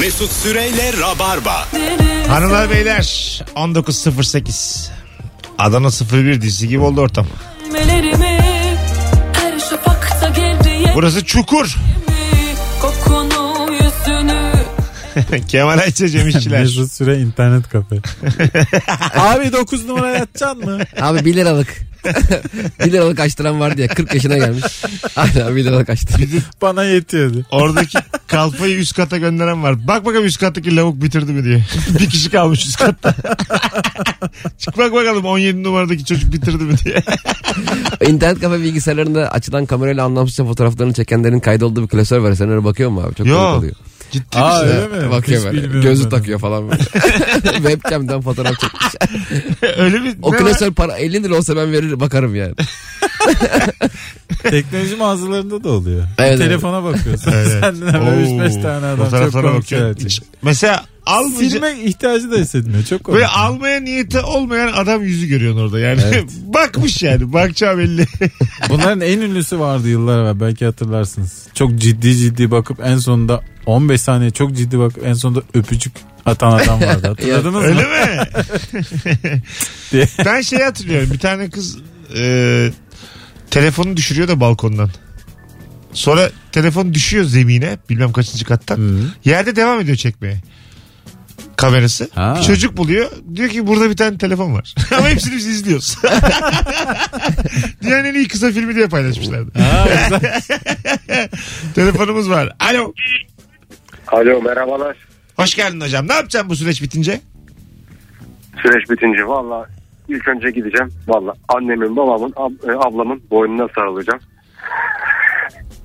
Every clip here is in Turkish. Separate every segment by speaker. Speaker 1: Mesut Süreyle Rabarba.
Speaker 2: Hanımlar beyler 19.08 Adana 01 dizisi gibi oldu ortam.
Speaker 3: Ellerimi her şafakta geriye
Speaker 2: Burası çukur.
Speaker 3: mi? Kokunu yüzünü
Speaker 2: Kemal Ayça Cem İşçiler.
Speaker 4: Mesut Süre internet kafe. Abi 9 numara yatacaksın mı?
Speaker 5: Abi 1 liralık. 1 liralık açtıran vardı ya 40 yaşına gelmiş. Hala 1 liralık açtı.
Speaker 4: Bana yetiyordu.
Speaker 2: Oradaki kalfayı üst kata gönderen var. Bak bakalım üst kattaki lavuk bitirdi mi diye. Bir kişi kalmış üst katta. Çık bak bakalım 17 numaradaki çocuk bitirdi mi diye.
Speaker 5: İnternet kafe bilgisayarlarında açılan kamerayla anlamsızca fotoğraflarını çekenlerin kaydolduğu bir klasör var. Sen öyle bakıyor musun abi? Çok
Speaker 2: Yo.
Speaker 5: komik oluyor.
Speaker 2: Ciddi
Speaker 4: Aa
Speaker 2: misin?
Speaker 4: öyle mi?
Speaker 5: Bakıyor
Speaker 4: Hiç
Speaker 5: böyle.
Speaker 4: bilmiyorum
Speaker 5: Gözü
Speaker 4: ben.
Speaker 5: takıyor falan böyle. Webcam'den fotoğraf çekmiş.
Speaker 2: Öyle mi?
Speaker 5: O
Speaker 2: Ne var?
Speaker 5: klasör para 50 lira olsa ben verir bakarım yani.
Speaker 4: Teknoloji mağazalarında da oluyor.
Speaker 5: Evet,
Speaker 4: Telefona bakıyorsun.
Speaker 2: Evet.
Speaker 4: Senden böyle
Speaker 2: Oo,
Speaker 4: 3-5 tane adam. Çok
Speaker 2: fotoğraflara
Speaker 4: komik
Speaker 2: bakıyor.
Speaker 4: şeyler
Speaker 2: Hiç-
Speaker 4: çekiyor.
Speaker 2: Mesela almayacak.
Speaker 4: Silme ihtiyacı da hissetmiyor. Çok komik.
Speaker 2: Böyle almaya niyeti olmayan adam yüzü görüyorsun orada yani. Bakmış yani. Bakacağı belli.
Speaker 4: Bunların en ünlüsü vardı yıllar evvel belki hatırlarsınız. Çok ciddi ciddi bakıp en sonunda 15 saniye çok ciddi bakıp en sonunda öpücük atan adam vardı. Hatırladınız mı?
Speaker 2: Öyle mi?
Speaker 4: Diye.
Speaker 2: ben şey hatırlıyorum. Bir tane kız e, telefonu düşürüyor da balkondan. Sonra telefon düşüyor zemine. Bilmem kaçıncı kattan. Yerde devam ediyor çekmeye. Kamerası.
Speaker 4: Ha.
Speaker 2: Bir çocuk buluyor. Diyor ki burada bir tane telefon var. Ama hepsini biz izliyoruz. Dünyanın en iyi kısa filmi diye paylaşmışlardı. Telefonumuz var. Alo.
Speaker 6: Alo merhabalar.
Speaker 2: Hoş geldin hocam. Ne yapacaksın bu süreç bitince?
Speaker 6: Süreç bitince valla ilk önce gideceğim. Valla annemin babamın ab- e, ablamın boynuna sarılacağım.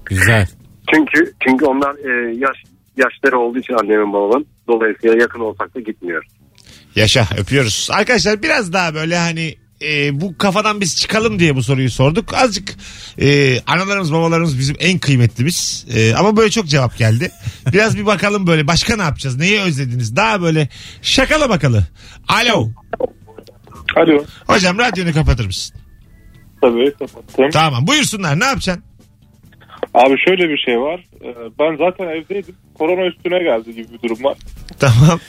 Speaker 4: Güzel.
Speaker 6: Çünkü çünkü onlar e, yaş yaşları olduğu için annemin babamın. Dolayısıyla yakın olsak da gitmiyoruz.
Speaker 2: Yaşa öpüyoruz. Arkadaşlar biraz daha böyle hani e, bu kafadan biz çıkalım diye bu soruyu sorduk. Azıcık e, analarımız babalarımız bizim en kıymetlimiz. E, ama böyle çok cevap geldi. Biraz bir bakalım böyle başka ne yapacağız? Neyi özlediniz? Daha böyle şakala bakalı. Alo.
Speaker 7: Alo.
Speaker 2: Hocam radyonu kapatır mısın?
Speaker 7: Tabii kapattım.
Speaker 2: Tamam buyursunlar ne yapacaksın?
Speaker 7: Abi şöyle bir şey var. Ee, Ben zaten evdeydim. Korona üstüne geldi gibi bir durum var.
Speaker 2: Tamam.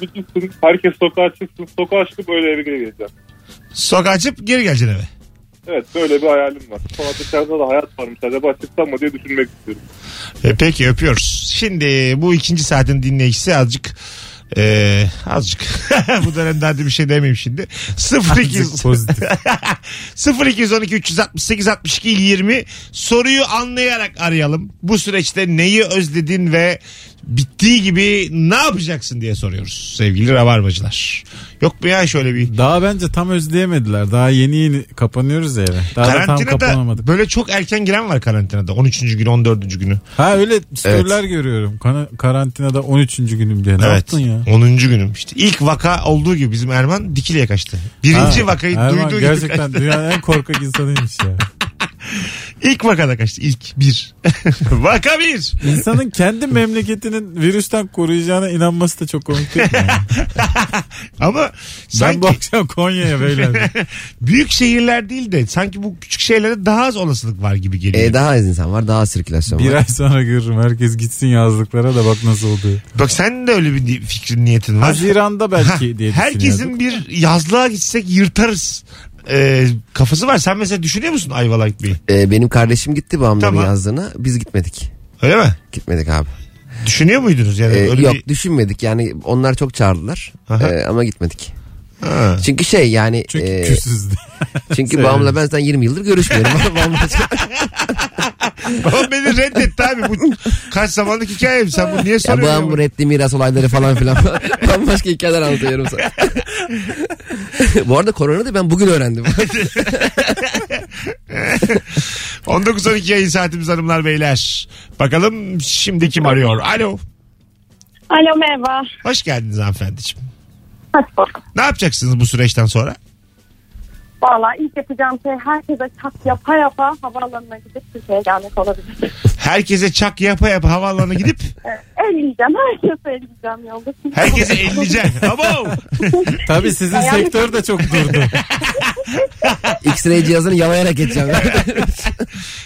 Speaker 7: Bütün herkes sokağa çıksın. Sokağa çıkıp öyle eve geri geleceğim.
Speaker 2: Sokağa açıp geri geleceksin eve.
Speaker 7: Evet böyle bir hayalim var. Sonra dışarıda da hayat varmış. Acaba çıksam mı diye düşünmek istiyorum.
Speaker 2: E, peki öpüyoruz. Şimdi bu ikinci saatin dinleyicisi azıcık e, azıcık bu dönemde hadi bir şey demeyeyim şimdi 02
Speaker 4: Pozitif.
Speaker 2: 0212 368 62 20 soruyu anlayarak arayalım. Bu süreçte neyi özledin ve bittiği gibi ne yapacaksın diye soruyoruz sevgili rabarbacılar. Yok mu ya şöyle bir
Speaker 4: Daha bence tam özleyemediler. Daha yeni yeni kapanıyoruz ya eve. Daha da tam
Speaker 2: karantinada
Speaker 4: kapanamadık.
Speaker 2: böyle çok erken giren var karantinada 13. gün 14. günü.
Speaker 4: Ha öyle storyler görüyorum. Kana- karantinada 13. günüm diye. Ne yaptın ya?
Speaker 2: 10. günüm işte. İlk vaka olduğu gibi bizim Erman Dikili'ye kaçtı. Birinci
Speaker 4: Ha,
Speaker 2: vakayı
Speaker 4: Erman
Speaker 2: duyduğu gibi
Speaker 4: Gerçekten
Speaker 2: kaçtı.
Speaker 4: dünyanın en korkak insanıymış ya.
Speaker 2: İlk vakada kaçtı. İlk bir. Vaka bir.
Speaker 4: İnsanın kendi memleketinin virüsten koruyacağına inanması da çok komik değil mi? ya?
Speaker 2: Ama
Speaker 4: Ben
Speaker 2: sanki
Speaker 4: bu akşam Konya'ya beyler.
Speaker 2: büyük şehirler değil de sanki bu küçük şehirlerde daha az olasılık var gibi geliyor.
Speaker 5: E, daha az insan var daha az sirkülasyon var.
Speaker 4: Bir ay sonra görürüm. Herkes gitsin yazlıklara da bak nasıl oldu.
Speaker 2: Bak sen de öyle bir ni- fikrin niyetin var.
Speaker 4: Haziran'da belki diye düşünüyorduk.
Speaker 2: Herkesin bir yazlığa gitsek yırtarız. e, kafası var. Sen mesela düşünüyor musun Ayvalık'a gitmeyi?
Speaker 5: E, benim kardeşim gitti babamların
Speaker 2: Tamam.
Speaker 5: yazdığına biz gitmedik.
Speaker 2: Öyle mi?
Speaker 5: Gitmedik abi.
Speaker 2: Düşünüyor muydunuz yani?
Speaker 5: E,
Speaker 2: öyle
Speaker 5: yok
Speaker 2: bir-
Speaker 5: düşünmedik yani onlar çok çağırdılar
Speaker 2: Aha.
Speaker 5: E, ama gitmedik.
Speaker 2: Ha.
Speaker 5: Çünkü şey yani
Speaker 4: Çünkü
Speaker 2: Ee,
Speaker 5: e,
Speaker 4: küsüz diye.
Speaker 5: çünkü babamla ben zaten 20 yıldır görüşmüyorum. Babamla çok-
Speaker 2: Babam beni reddetti abi. Bu kaç zamanlık hikayem. Sen bunu niye
Speaker 5: ya
Speaker 2: soruyorsun?
Speaker 5: babam
Speaker 2: ya?
Speaker 5: bu reddi miras olayları falan filan. Bambaşka hikayeler anlatıyorum sana. bu arada korona da ben bugün öğrendim.
Speaker 2: 19-12 yayın saatimiz hanımlar beyler. Bakalım şimdi kim arıyor? Alo.
Speaker 8: Alo merhaba.
Speaker 2: Hoş geldiniz hanımefendiciğim.
Speaker 8: Hoş bulduk.
Speaker 2: Ne yapacaksınız bu süreçten sonra?
Speaker 8: Valla ilk yapacağım şey herkese çat yapa yapa havaalanına gidip Türkiye'ye gelmek olabilir. Ee,
Speaker 2: Herkese çak yapa yapa havaalanına gidip
Speaker 8: Elleyeceğim. Herkese elleyeceğim şey yolda. Kimse-
Speaker 2: herkese elleyeceksin. Abo!
Speaker 4: Tabii sizin
Speaker 8: Hayal-
Speaker 4: sektör de çok durdu.
Speaker 5: X-ray cihazını yalayarak geçeceğim.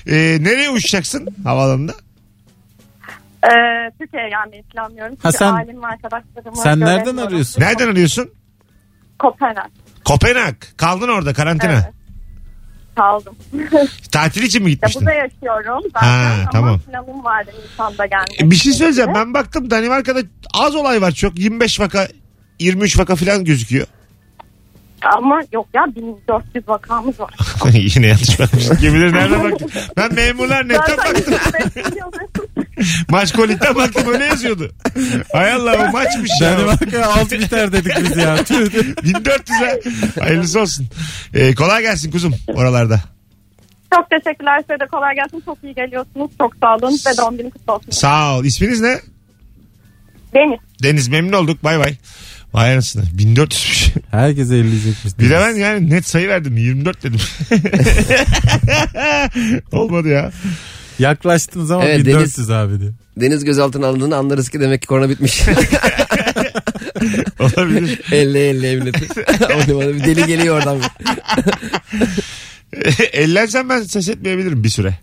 Speaker 2: Ee, nereye uçacaksın havaalanında?
Speaker 8: Ee, Türkiye'ye gelmeyi planlıyorum. Çünkü
Speaker 4: Ha sen-
Speaker 8: ailem ve arkadaşlarımı
Speaker 4: Sen nereden
Speaker 8: göremiyorum.
Speaker 4: arıyorsun?
Speaker 2: Nereden arıyorsun?
Speaker 8: Kopenhag.
Speaker 2: Kopenhag. Kaldın orada karantina.
Speaker 8: Evet. Kaldım.
Speaker 2: Tatil için mi
Speaker 8: Ya
Speaker 2: gitmiştin?
Speaker 8: burada yaşıyorum zaten
Speaker 2: Ha,
Speaker 8: ama
Speaker 2: tamam.
Speaker 8: planım vardı Nisan'da gelmek.
Speaker 2: E, Bir şey söyleyeceğim.
Speaker 8: üzere.
Speaker 2: Ben baktım Danimarka'da az olay var çok. 25 vaka 23 vaka falan gözüküyor.
Speaker 8: Ama yok ya 1400 vakamız var.
Speaker 2: Yine yanlış bakmışsın. Kim bilir nereden baktın. Ben memurlar nete
Speaker 8: Zaten
Speaker 2: baktım.
Speaker 8: 25 yıl
Speaker 2: Maç kolitten baktım öyle yazıyordu. Hay Allah bu maçmış ya.
Speaker 4: Danimarka altı biter dedik biz ya. Tüh, tüh.
Speaker 2: 1400 ha. Hayırlısı olsun. E, kolay gelsin kuzum oralarda.
Speaker 8: Çok teşekkürler size de kolay gelsin. Çok iyi geliyorsunuz. Çok sağ olun ve doğum günü kutlu olsun.
Speaker 2: Sağ ol. İsminiz ne?
Speaker 8: Deniz.
Speaker 2: Deniz memnun olduk. Bay bay. Vay anasını. 1400'müş.
Speaker 4: Herkes elleyecekmiş.
Speaker 2: Bir de ben yani net sayı verdim. 24 dedim. Olmadı ya. Ee,
Speaker 4: Yaklaştınız ama
Speaker 5: Evet,
Speaker 4: 1400 abi diyor.
Speaker 5: Deniz gözaltına alındığını anlarız ki demek ki korona bitmiş.
Speaker 2: Olabilir.
Speaker 5: elle elle evleti. o numara bir deli geliyor oradan.
Speaker 2: Ellensen ben ses etmeyebilirim bir süre.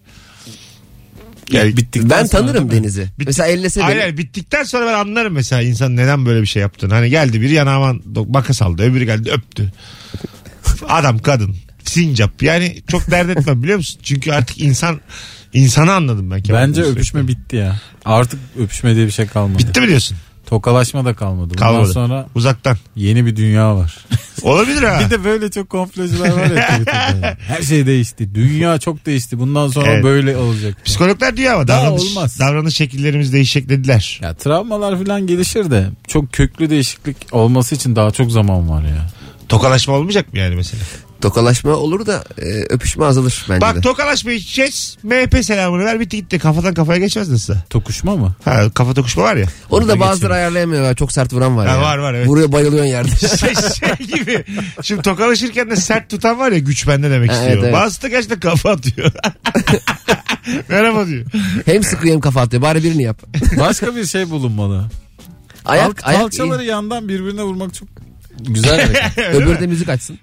Speaker 2: Yani
Speaker 4: Bittikten
Speaker 5: ben
Speaker 4: sonra
Speaker 5: tanırım
Speaker 4: değil mi?
Speaker 5: Deniz'i. Mesela ellese beni.
Speaker 2: Hayır, hayır, bittikten sonra ben anlarım mesela insan neden böyle bir şey yaptığını. Hani geldi biri yanağıma do- makas aldı öbürü geldi öptü. Adam kadın sincap yani çok dert etmem biliyor musun? Çünkü artık insan insanı anladım ben. Kemal
Speaker 4: Bence
Speaker 2: Bey'in
Speaker 4: öpüşme
Speaker 2: sürekli.
Speaker 4: bitti ya. Artık öpüşme diye bir şey kalmadı.
Speaker 2: Bitti mi diyorsun?
Speaker 4: Tokalaşma da kalmadı. Bundan
Speaker 2: Kalmadı.
Speaker 4: sonra
Speaker 2: Uzaktan.
Speaker 4: yeni bir dünya var.
Speaker 2: Olabilir ha.
Speaker 4: bir de böyle çok komplocular var ya Twitter'da ya. Her şey değişti. Dünya çok değişti. Bundan sonra
Speaker 2: Evet.
Speaker 4: böyle olacak.
Speaker 2: Psikologlar diyor ama
Speaker 4: Daha
Speaker 2: davranış,
Speaker 4: olmaz.
Speaker 2: davranış şekillerimiz değişecek dediler.
Speaker 4: Ya travmalar falan gelişir de çok köklü değişiklik olması için daha çok zaman var ya.
Speaker 2: Tokalaşma olmayacak mı yani mesela?
Speaker 5: Tokalaşma olur da e, öpüşme azalır bence de.
Speaker 2: Bak tokalaşma içeceğiz. MHP selamını ver bitti gitti. Kafadan kafaya geçmez nasıl?
Speaker 4: Tokuşma mı?
Speaker 2: Ha kafa tokuşma var ya.
Speaker 5: Onu da
Speaker 4: Orada
Speaker 5: bazıları ayarlayamıyor. ya. Çok sert vuran var
Speaker 2: Ha,
Speaker 5: ya.
Speaker 2: var, var, evet.
Speaker 5: Vuruyor bayılıyorsun yerde.
Speaker 2: şey, şey gibi. Şimdi tokalaşırken de sert tutan var ya güç bende demek
Speaker 5: Ha,
Speaker 2: istiyor.
Speaker 5: evet, evet.
Speaker 2: Bazısı da gerçekten kafa atıyor. Merhaba diyor.
Speaker 5: hem sıkıyor hem kafa atıyor. Bari birini yap.
Speaker 4: Başka bir şey bulunmalı.
Speaker 5: Ayak,
Speaker 4: Kal-
Speaker 5: ayak
Speaker 4: kalçaları yandan birbirine vurmak çok
Speaker 5: güzel hareket. Öbürü de müzik açsın.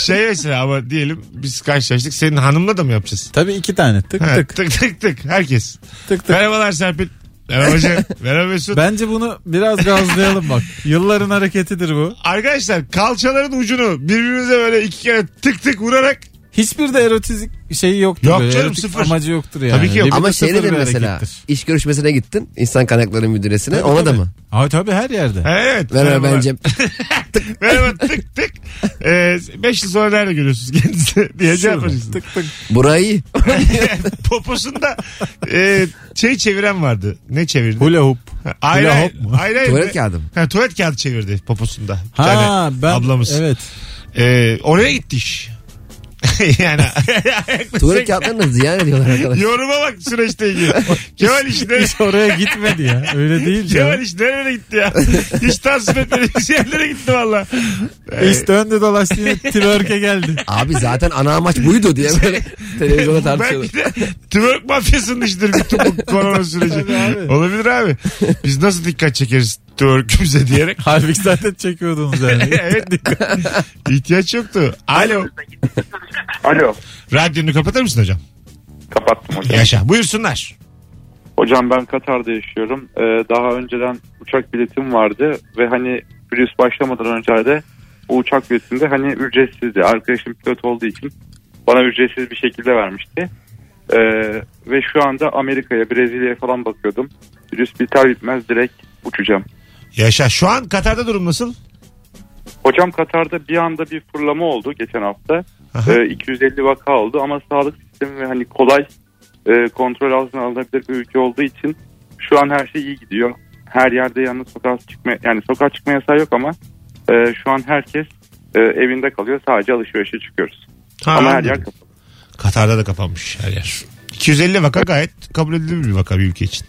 Speaker 2: Şey mesela ama diyelim biz karşılaştık. Senin hanımla da mı yapacağız?
Speaker 4: Tabii iki tane tık
Speaker 2: Ha,
Speaker 4: tık
Speaker 2: tık tık tık. Herkes.
Speaker 4: tık tık.
Speaker 2: Merhabalar Serpil. Merhaba hocam. Merhaba Mesut.
Speaker 4: Bence bunu biraz gazlayalım bak. Yılların hareketidir bu.
Speaker 2: Arkadaşlar kalçaların ucunu birbirimize böyle iki kere tık tık vurarak
Speaker 4: Hiçbir de erotizm şeyi yoktur.
Speaker 2: Yok
Speaker 4: böyle.
Speaker 2: canım,
Speaker 4: Erotik
Speaker 2: sıfır.
Speaker 4: Amacı yoktur yani.
Speaker 2: Tabii ki yok.
Speaker 4: Bir
Speaker 5: Ama
Speaker 4: de sıfır
Speaker 5: şeyde de
Speaker 4: bir
Speaker 5: mesela
Speaker 4: harekettir.
Speaker 5: iş görüşmesine gittin. insan kaynakları müdüresine.
Speaker 4: Tabii,
Speaker 5: Ona da
Speaker 4: tabii.
Speaker 5: mı?
Speaker 4: Ay tabii her yerde.
Speaker 2: evet.
Speaker 5: Merhaba ben Cem.
Speaker 2: Merhaba tık tık. Ee, beş yıl sonra nerede görüyorsunuz kendisi diye şey
Speaker 4: Şurada.
Speaker 2: cevap vereceksin.
Speaker 4: Tık tık.
Speaker 5: Burayı iyi.
Speaker 2: Poposunda e, şey çeviren vardı. Ne çevirdi?
Speaker 4: Hula hoop.
Speaker 2: Hayır,
Speaker 4: Hula
Speaker 2: hayır,
Speaker 4: hop mu?
Speaker 2: hayır, hayır.
Speaker 5: Tuvalet kağıdı mı?
Speaker 2: Ha, tuvalet kağıdı çevirdi poposunda. Bir
Speaker 4: Ha
Speaker 2: tane
Speaker 4: ben
Speaker 2: ablamız.
Speaker 4: evet.
Speaker 2: Ee, oraya gitti iş. yani
Speaker 5: Tuvalet kağıtlarını ziyan ediyorlar arkadaşlar.
Speaker 2: yoruma bak süreçle ilgili. Kemal iş ne?
Speaker 4: Hiç oraya gitmedi ya. Öyle değil
Speaker 2: Kemal
Speaker 4: ya.
Speaker 2: iş nereye gitti ya? Hiç tasvip etmediğimiz yerlere gitti valla. Ee,
Speaker 4: İşte döndü dolaştı yine twerk'e geldi.
Speaker 5: Abi zaten ana amaç buydu diye böyle televizyonda tartışıyorlar.
Speaker 2: Belki de twerk mafyasının işidir bütün bu korona süreci.
Speaker 4: Tabii abi.
Speaker 2: Olabilir abi. Biz nasıl dikkat çekeriz twerk'ümüze diyerek.
Speaker 4: Halbuki zaten çekiyordunuz yani.
Speaker 2: evet. İhtiyaç yoktu. Alo.
Speaker 7: Alo.
Speaker 2: Radyonu kapatır mısın hocam?
Speaker 7: Kapattım hocam.
Speaker 2: Yaşa. Buyursunlar.
Speaker 7: Hocam ben Katar'da yaşıyorum. Ee, daha önceden uçak biletim vardı ve hani virüs başlamadan önce de o uçak biletinde hani ücretsizdi. Arkadaşım pilot olduğu için bana ücretsiz bir şekilde vermişti. Ee, ve şu anda Amerika'ya, Brezilya'ya falan bakıyordum. Virüs biter bitmez direkt uçacağım.
Speaker 2: Yaşa. Şu an Katar'da durum nasıl?
Speaker 7: Hocam Katar'da bir anda bir fırlama oldu geçen hafta.
Speaker 2: Aha.
Speaker 7: Ee, 250 vaka oldu ama sağlık sistemi ve hani kolay e, kontrol altına alınabilir bir ülke olduğu için şu an her şey iyi gidiyor. Her yerde yalnız sokağa çıkma yani sokağa çıkma yasağı yok ama e, şu an herkes e, evinde kalıyor. Sadece alışverişe çıkıyoruz.
Speaker 2: Ha,
Speaker 7: ama her
Speaker 2: anladım.
Speaker 7: yer kapalı.
Speaker 2: Katar'da da kapanmış her yer. 250 vaka gayet kabul edilir bir vaka bir ülke için.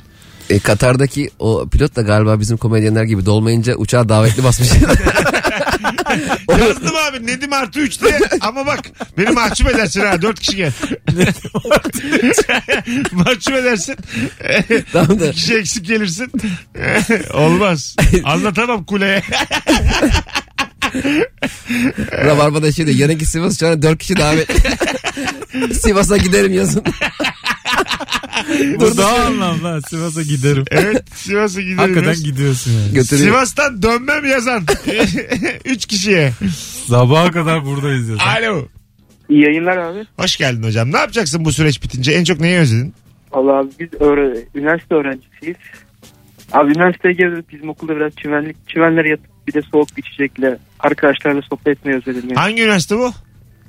Speaker 5: E, Katar'daki o pilot da galiba bizim komedyenler gibi dolmayınca uçağa davetli basmış.
Speaker 2: Yazdım abi Nedim artı 3 diye ama bak beni mahcup edersin ha 4 kişi gel. mahcup edersin.
Speaker 5: tamam da
Speaker 2: Bir kişi şey eksik gelirsin. Olmaz. Anlatamam kuleye.
Speaker 5: Rabarba'da şey diyor. Yarınki Sivas uçağına dört kişi davetli. Sivas'a giderim yazın.
Speaker 4: Bu daha anlamlı. ha. Sivas'a giderim.
Speaker 2: Evet Sivas'a gidelim.
Speaker 4: Hakikaten
Speaker 2: Biraz-
Speaker 4: gidiyorsun yani.
Speaker 5: Götürüyor.
Speaker 2: Sivas'tan dönmem yazan. Üç kişiye.
Speaker 4: Sabaha kadar buradayız ya.
Speaker 2: Alo.
Speaker 9: İyi yayınlar abi.
Speaker 2: Hoş geldin hocam. Ne yapacaksın bu süreç bitince? En çok neyi özledin?
Speaker 9: Allah abi biz öğre- üniversite öğrencisiyiz. Abi üniversiteye gezdik bizim okulda biraz çimenlik, çimenlere yatıp bir de soğuk bir içecekle arkadaşlarla sohbet etmeyi özledim. Yani.
Speaker 2: Hangi üniversite bu?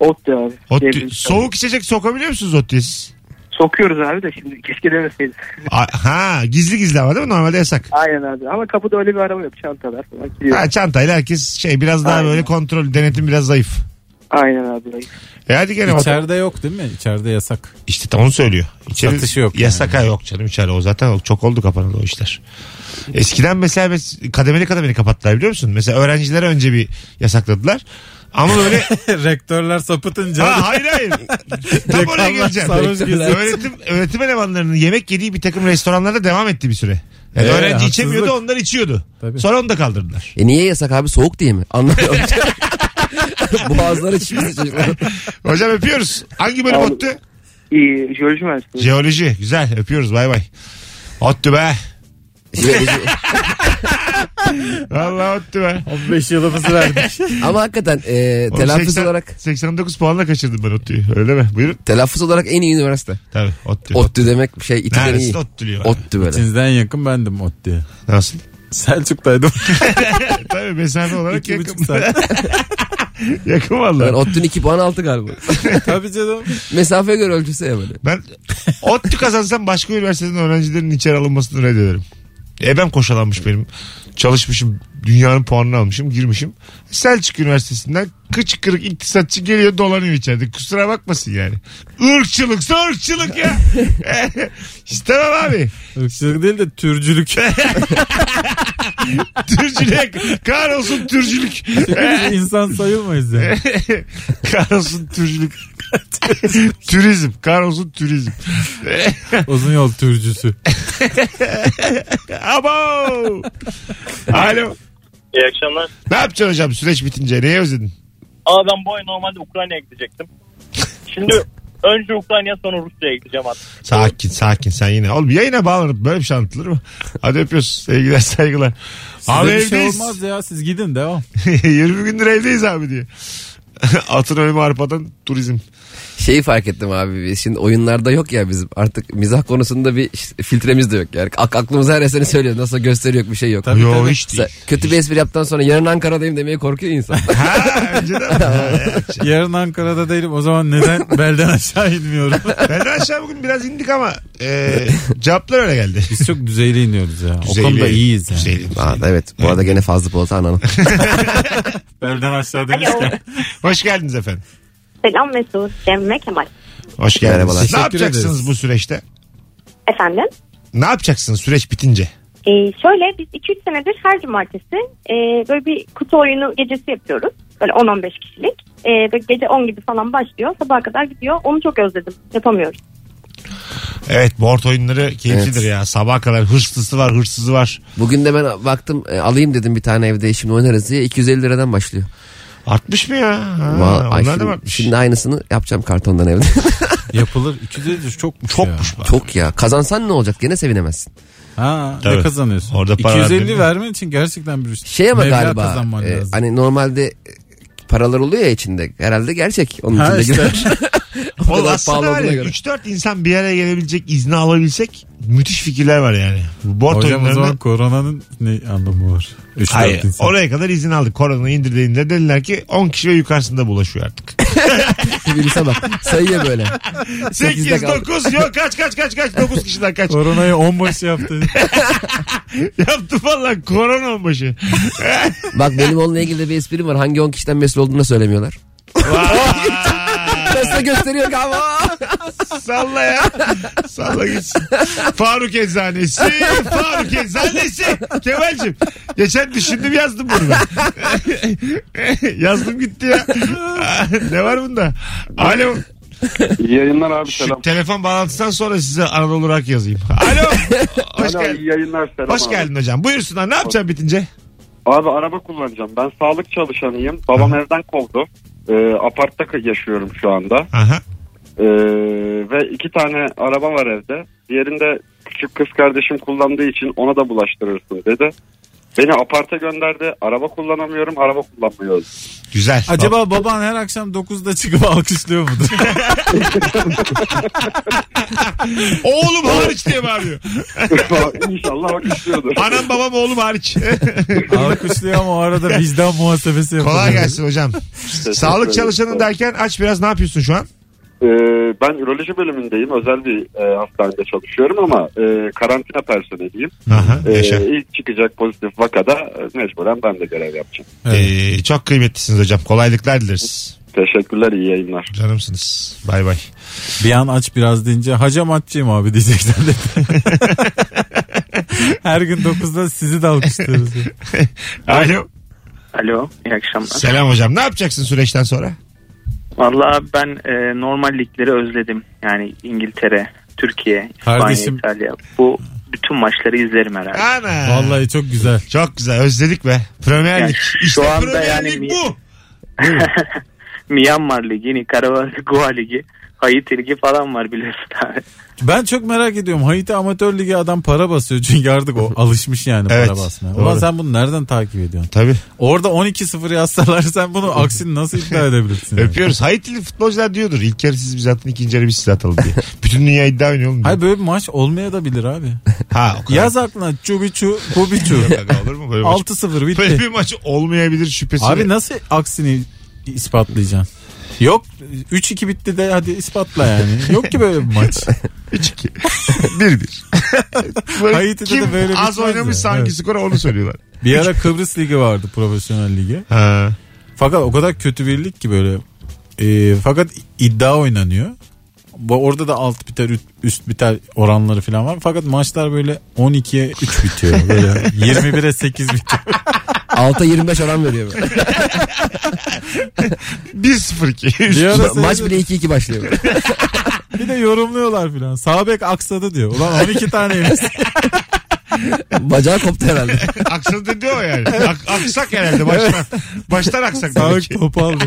Speaker 9: Ot abi. Şey,
Speaker 2: Hot-
Speaker 9: Devrim.
Speaker 2: soğuk içecek sokabiliyor musunuz Ottu'ya siz?
Speaker 9: Sokuyoruz abi de şimdi keşke demeseydik.
Speaker 2: A- ha gizli gizli ama değil mi? Normalde yasak.
Speaker 9: Aynen abi ama kapıda öyle bir araba yok çantalar falan giriyor.
Speaker 2: Ha, çantayla herkes şey biraz daha
Speaker 9: Aynen.
Speaker 2: böyle kontrol denetim biraz zayıf.
Speaker 9: Aynen abi.
Speaker 2: E hadi gene bak.
Speaker 4: İçeride yok değil mi? İçeride yasak.
Speaker 2: İşte tam onu söylüyor. İçeri,
Speaker 4: Satışı yok
Speaker 2: Yasak ha yok canım içeri o zaten çok oldu kapanalı o işler. Eskiden mesela mes- kademeli kademeli kapattılar biliyor musun? Mesela öğrencilere önce bir yasakladılar. Ama böyle
Speaker 4: Rektörler sapıtınca.
Speaker 2: ha, hayır hayır. Tam oraya
Speaker 4: Dekanlar
Speaker 2: geleceğim.
Speaker 4: sarhoş geziyor.
Speaker 2: öğretim, öğretim elemanlarının yemek yediği bir takım restoranlarda devam etti bir süre. Yani
Speaker 4: Ee,
Speaker 2: öğrenci
Speaker 4: haksızlık.
Speaker 2: içemiyordu onlar içiyordu.
Speaker 4: Tabii.
Speaker 2: Sonra onu da kaldırdılar.
Speaker 5: E niye yasak abi soğuk diye mi? Anlamıyorum. Boğazları şişmesi çocuklar.
Speaker 2: Hocam öpüyoruz. Hangi bölüm
Speaker 9: Abi-
Speaker 2: ottu?
Speaker 9: İyi jeoloji mühendisliği.
Speaker 2: Jeoloji. Güzel öpüyoruz bay bay. Ottu be. Vallahi ottu be.
Speaker 4: 15 yılımızı verdik.
Speaker 5: Ama hakikaten e,
Speaker 2: Oğlum şey
Speaker 5: telaffuz
Speaker 2: 80
Speaker 5: olarak
Speaker 2: 89 puanla kaçırdım ben ODTÜ'yü. Öyle mi? Buyurun.
Speaker 5: telaffuz olarak en iyi üniversite.
Speaker 2: Tabii ODTÜ.
Speaker 5: ODTÜ demek şey İTÜ'den iyi.
Speaker 2: Neresi ODTÜ'lü Ot...
Speaker 5: ODTÜ böyle.
Speaker 4: İçinizden yakın bendim ot diye.
Speaker 2: Nasıl?
Speaker 4: Selçuk'taydım.
Speaker 2: Tabii mesafe olarak
Speaker 4: İki buçuk
Speaker 2: yakın.
Speaker 4: saat.
Speaker 2: yakın
Speaker 5: Ben
Speaker 2: valla.
Speaker 5: ODTÜ'nün 2 puan altı galiba.
Speaker 4: Tabii canım.
Speaker 5: Mesafe göre ölçüsü ya böyle.
Speaker 2: Ben ODTÜ kazansam başka üniversiteden öğrencilerin içeri alınmasını reddederim. Ebem koşalanmış benim. Çalışmışım. Dünyanın puanını almışım. Girmişim. Selçuk Üniversitesi'nden kıç kırık iktisatçı geliyor dolanıyor içeride. Kusura bakmasın yani. Irkçılıksa ırkçılık ya. İstemem abi.
Speaker 4: Irkçılık değil de türcülük.
Speaker 2: Türcülük. Kahrolsun türcülük.
Speaker 4: Biz insan sayılmayız yani.
Speaker 2: Kahrolsun türcülük. turizm. Kahrolsun turizm.
Speaker 4: Uzun yol türcüsü.
Speaker 2: Abo. Alo.
Speaker 10: İyi akşamlar.
Speaker 2: Ne yapacaksın hocam süreç bitince? Neye özledin?
Speaker 10: Aa ben bu ay normalde Ukrayna'ya gidecektim. Şimdi önce Ukrayna'ya sonra Rusya'ya gideceğim artık.
Speaker 2: Sakin sakin sen yine. Oğlum yayına bağlanıp böyle bir şey anlatılır mı? Hadi öpüyoruz. Sevgiler saygılar.
Speaker 4: Size
Speaker 2: abi
Speaker 4: bir şey
Speaker 2: evdeyiz.
Speaker 4: olmaz ya siz gidin devam.
Speaker 2: 20 gündür evdeyiz abi diye. Atın ölümü arpadan turizm.
Speaker 5: Şeyi fark ettim abi. biz Şimdi oyunlarda yok ya bizim. Artık mizah konusunda bir filtremiz de yok. Yani Ak- aklımıza her eseni söylüyor. Nasıl gösteri yok bir şey yok.
Speaker 2: Yo hiç
Speaker 5: Mesela
Speaker 2: değil.
Speaker 5: kötü bir espri yaptıktan sonra yarın Ankara'dayım demeye korkuyor insan.
Speaker 2: Ha önceden.
Speaker 4: Yarın Ankara'da değilim o zaman neden belden aşağı inmiyorum.
Speaker 2: ben de aşağı bugün biraz indik ama e, cevaplar öyle geldi.
Speaker 4: Biz çok düzeyli iniyoruz ya.
Speaker 2: Düzeyli,
Speaker 4: o konuda iyiyiz yani.
Speaker 2: düzeyli, düzeyli.
Speaker 5: Aa, evet bu arada gene fazla Polat ananı.
Speaker 4: Belden aşağı demişken.
Speaker 2: Hoş geldiniz efendim.
Speaker 8: Selam Mesut, Cemre, Kemal.
Speaker 2: Hoş geldiniz.
Speaker 5: Merhabalar.
Speaker 2: Ne
Speaker 4: Teşekkür
Speaker 2: yapacaksınız
Speaker 4: ederiz.
Speaker 2: bu süreçte?
Speaker 8: Efendim?
Speaker 2: Ne yapacaksınız süreç bitince?
Speaker 8: Ee, şöyle biz 2-3 senedir her cumartesi e, böyle bir kutu oyunu gecesi yapıyoruz. Böyle 10-15 kişilik. E, böyle gece 10 gibi falan başlıyor. Sabaha kadar gidiyor. Onu çok özledim. Yapamıyoruz.
Speaker 2: Evet board oyunları keyiflidir
Speaker 5: Evet.
Speaker 2: ya. Sabaha kadar hırslısı var hırsızı var.
Speaker 5: Bugün de ben baktım e, alayım dedim bir tane evde şimdi oynarız diye 250 liradan başlıyor.
Speaker 2: Artmış mı ya? Ha,
Speaker 5: Vallahi ay
Speaker 2: onlar da mı
Speaker 5: şimdi,
Speaker 2: artmış?
Speaker 5: şimdi aynısını yapacağım kartondan evde.
Speaker 4: Yapılır. 250 lira çokmuş, ya.
Speaker 2: Çokmuş bak.
Speaker 5: Çok ya kazansan ne olacak gene sevinemezsin.
Speaker 4: Ha,
Speaker 2: Tabii.
Speaker 4: ne kazanıyorsun?
Speaker 2: Orada para
Speaker 4: 250
Speaker 2: harcadın.
Speaker 4: vermen için gerçekten bir şey.
Speaker 5: Şey ama
Speaker 4: Meblağ
Speaker 5: galiba
Speaker 4: kazanman
Speaker 5: e,
Speaker 4: lazım.
Speaker 5: hani normalde e, paralar oluyor ya içinde herhalde gerçek onun
Speaker 4: Ha
Speaker 5: içinde
Speaker 4: işte.
Speaker 5: girer. o
Speaker 2: Oğlum
Speaker 5: kadar
Speaker 2: aslında
Speaker 5: pahalı
Speaker 2: var ya,
Speaker 5: olduğuna göre.
Speaker 2: 3-4 insan bir araya gelebilecek izni alabilsek müthiş fikirler var yani. Bu Board
Speaker 4: Hocam o
Speaker 2: oyunlarında.
Speaker 4: zaman koronanın ne anlamı var? 3
Speaker 2: Hayır. Oraya kadar izin aldık. Korona indirdiğinde dediler ki 10 kişi ve yukarısında bulaşıyor artık.
Speaker 5: Virüse bak sayıyor böyle.
Speaker 2: 8,
Speaker 5: Sekizde kaldı.
Speaker 2: 9 yok kaç kaç kaç kaç 9 kişiden kaç.
Speaker 4: Koronayı 10 başı yaptı.
Speaker 2: Yaptı valla korona başı.
Speaker 5: Bak benim onunla ilgili de bir esprim var hangi 10 kişiden mesul olduğunu da söylemiyorlar. Nasıl gösteriyor ama.
Speaker 2: Salla ya. Salla gitsin. Faruk Eczanesi. Faruk Eczanesi. Kemal'cim. Geçen düşündüm yazdım bunu ben. yazdım gitti ya. ne var bunda? Alo.
Speaker 7: İyi yayınlar abi
Speaker 2: Şu
Speaker 7: selam.
Speaker 2: telefon bağlantısından sonra size Anadolu olarak yazayım. Alo. Hoş,
Speaker 7: Alo,
Speaker 2: geldin.
Speaker 7: iyi yayınlar selam
Speaker 2: Hoş
Speaker 7: abi.
Speaker 2: geldin hocam. Buyursunlar. Ne yapacaksın bitince?
Speaker 7: Abi araba kullanacağım. Ben sağlık çalışanıyım. Babam evden kovdu. Ee, apartta yaşıyorum şu anda.
Speaker 2: Aha.
Speaker 7: Ee, ve iki tane araba var evde. Diğerinde küçük kız kardeşim kullandığı için ona da bulaştırırsın dedi. Beni aparta gönderdi. Araba kullanamıyorum, araba kullanmıyoruz.
Speaker 2: Güzel.
Speaker 4: Acaba baban her akşam 9'da çıkıp alkışlıyor mudur?
Speaker 2: Oğlum hariç diye bağırıyor.
Speaker 7: İnşallah bak istiyordur.
Speaker 2: Anam babam oğlum hariç.
Speaker 4: alkışlıyor ama o arada vicdan muhasebesi yapıyor.
Speaker 2: Kolay gelsin hocam. Sağlık çalışanı derken aç biraz ne yapıyorsun şu an?
Speaker 7: Ee, ben üroloji bölümündeyim. Özel bir e, hastanede çalışıyorum ama e, karantina personeliyim.
Speaker 2: Aha,
Speaker 7: Ee,
Speaker 2: yaşa.
Speaker 7: ilk çıkacak pozitif vakada e, mecburen ben de görev yapacağım.
Speaker 2: Ee, çok kıymetlisiniz hocam. Kolaylıklar dileriz.
Speaker 7: Teşekkürler, iyi yayınlar.
Speaker 2: Canımsınız. Bay bay.
Speaker 4: Bir an aç biraz deyince hacam açayım abi diyecekler de. her gün 9'da sizi de alkışlıyoruz.
Speaker 2: Alo.
Speaker 11: Alo iyi akşamlar.
Speaker 2: Selam hocam. Ne yapacaksın süreçten sonra?
Speaker 11: Valla ben e, normal ligleri özledim. Yani İngiltere, Türkiye, İspanya,
Speaker 4: Kardeşim-
Speaker 11: İtalya. Bu bütün maçları izlerim herhalde.
Speaker 2: Ana.
Speaker 4: Vallahi çok güzel.
Speaker 2: Çok güzel. Özledik be. Premier
Speaker 11: Yani
Speaker 2: Lig.
Speaker 11: şu
Speaker 2: İşte
Speaker 11: anda
Speaker 2: Premier
Speaker 11: yani
Speaker 2: Lig
Speaker 11: mi-
Speaker 2: bu.
Speaker 11: Myanmar Ligi, Nikaragua Ligi, Haiti Ligi falan var biliyorsun abi.
Speaker 4: Ben çok merak ediyorum. Haiti Amatör Ligi adam para basıyor. Çünkü artık o alışmış yani
Speaker 2: Evet,
Speaker 4: para basmaya.
Speaker 2: doğru.
Speaker 4: Ulan sen bunu nereden takip ediyorsun?
Speaker 2: Tabii.
Speaker 4: Orada 12-0 yazsalar sen bunu aksini nasıl iddia edebilirsin? yani?
Speaker 2: Öpüyoruz. Haitili futbolcular diyordur. İlk yarı siz bize atın, ikinci yarı biz size atalım diye. Bütün dünya iddia oynuyor oğlum. diyor.
Speaker 4: Hayır böyle bir maç olmaya da bilir abi.
Speaker 2: Ha, o kadar.
Speaker 4: Yaz aklına çubiçu, kubiçu.
Speaker 2: Aga, olur mu böyle maç?
Speaker 4: 6-0
Speaker 2: Böyle
Speaker 4: bitti.
Speaker 2: bir maç olmayabilir şüphesi.
Speaker 4: Abi nasıl aksini ispatlayacaksın? Yok 3-2 bitti de hadi ispatla yani. Yok ki böyle bir maç.
Speaker 2: 3-2. 1-1. Böyle
Speaker 4: Haiti'de de
Speaker 2: kim
Speaker 4: böyle bitmez
Speaker 2: az
Speaker 4: ya.
Speaker 2: oynamışsa hangi
Speaker 4: Evet.
Speaker 2: skora onu söylüyorlar.
Speaker 4: Bir ara Kıbrıs Ligi vardı profesyonel ligi.
Speaker 2: Ha.
Speaker 4: Fakat o kadar kötü bir lig ki böyle. Ee, fakat iddia oynanıyor. Bu orada da alt biter üst, üst biter oranları falan var. Fakat maçlar böyle 12'ye 3 bitiyor. Böyle 21'e 8 bitiyor.
Speaker 5: 6'a 25 oran veriyor.
Speaker 2: 1-0-2.
Speaker 4: Bir ara
Speaker 5: Maç
Speaker 4: seyredip-
Speaker 5: bile 2-2 başlıyor.
Speaker 4: bir de yorumluyorlar filan. Sağ bek aksadı diyor. Ulan 12 tane yemiş.
Speaker 5: Bacağı koptu herhalde.
Speaker 2: Aksadı diyor yani. Ak- aksak herhalde baştan. Baştan aksak.
Speaker 4: Sağ
Speaker 2: demek
Speaker 4: bek
Speaker 2: ki.
Speaker 4: topu aldı.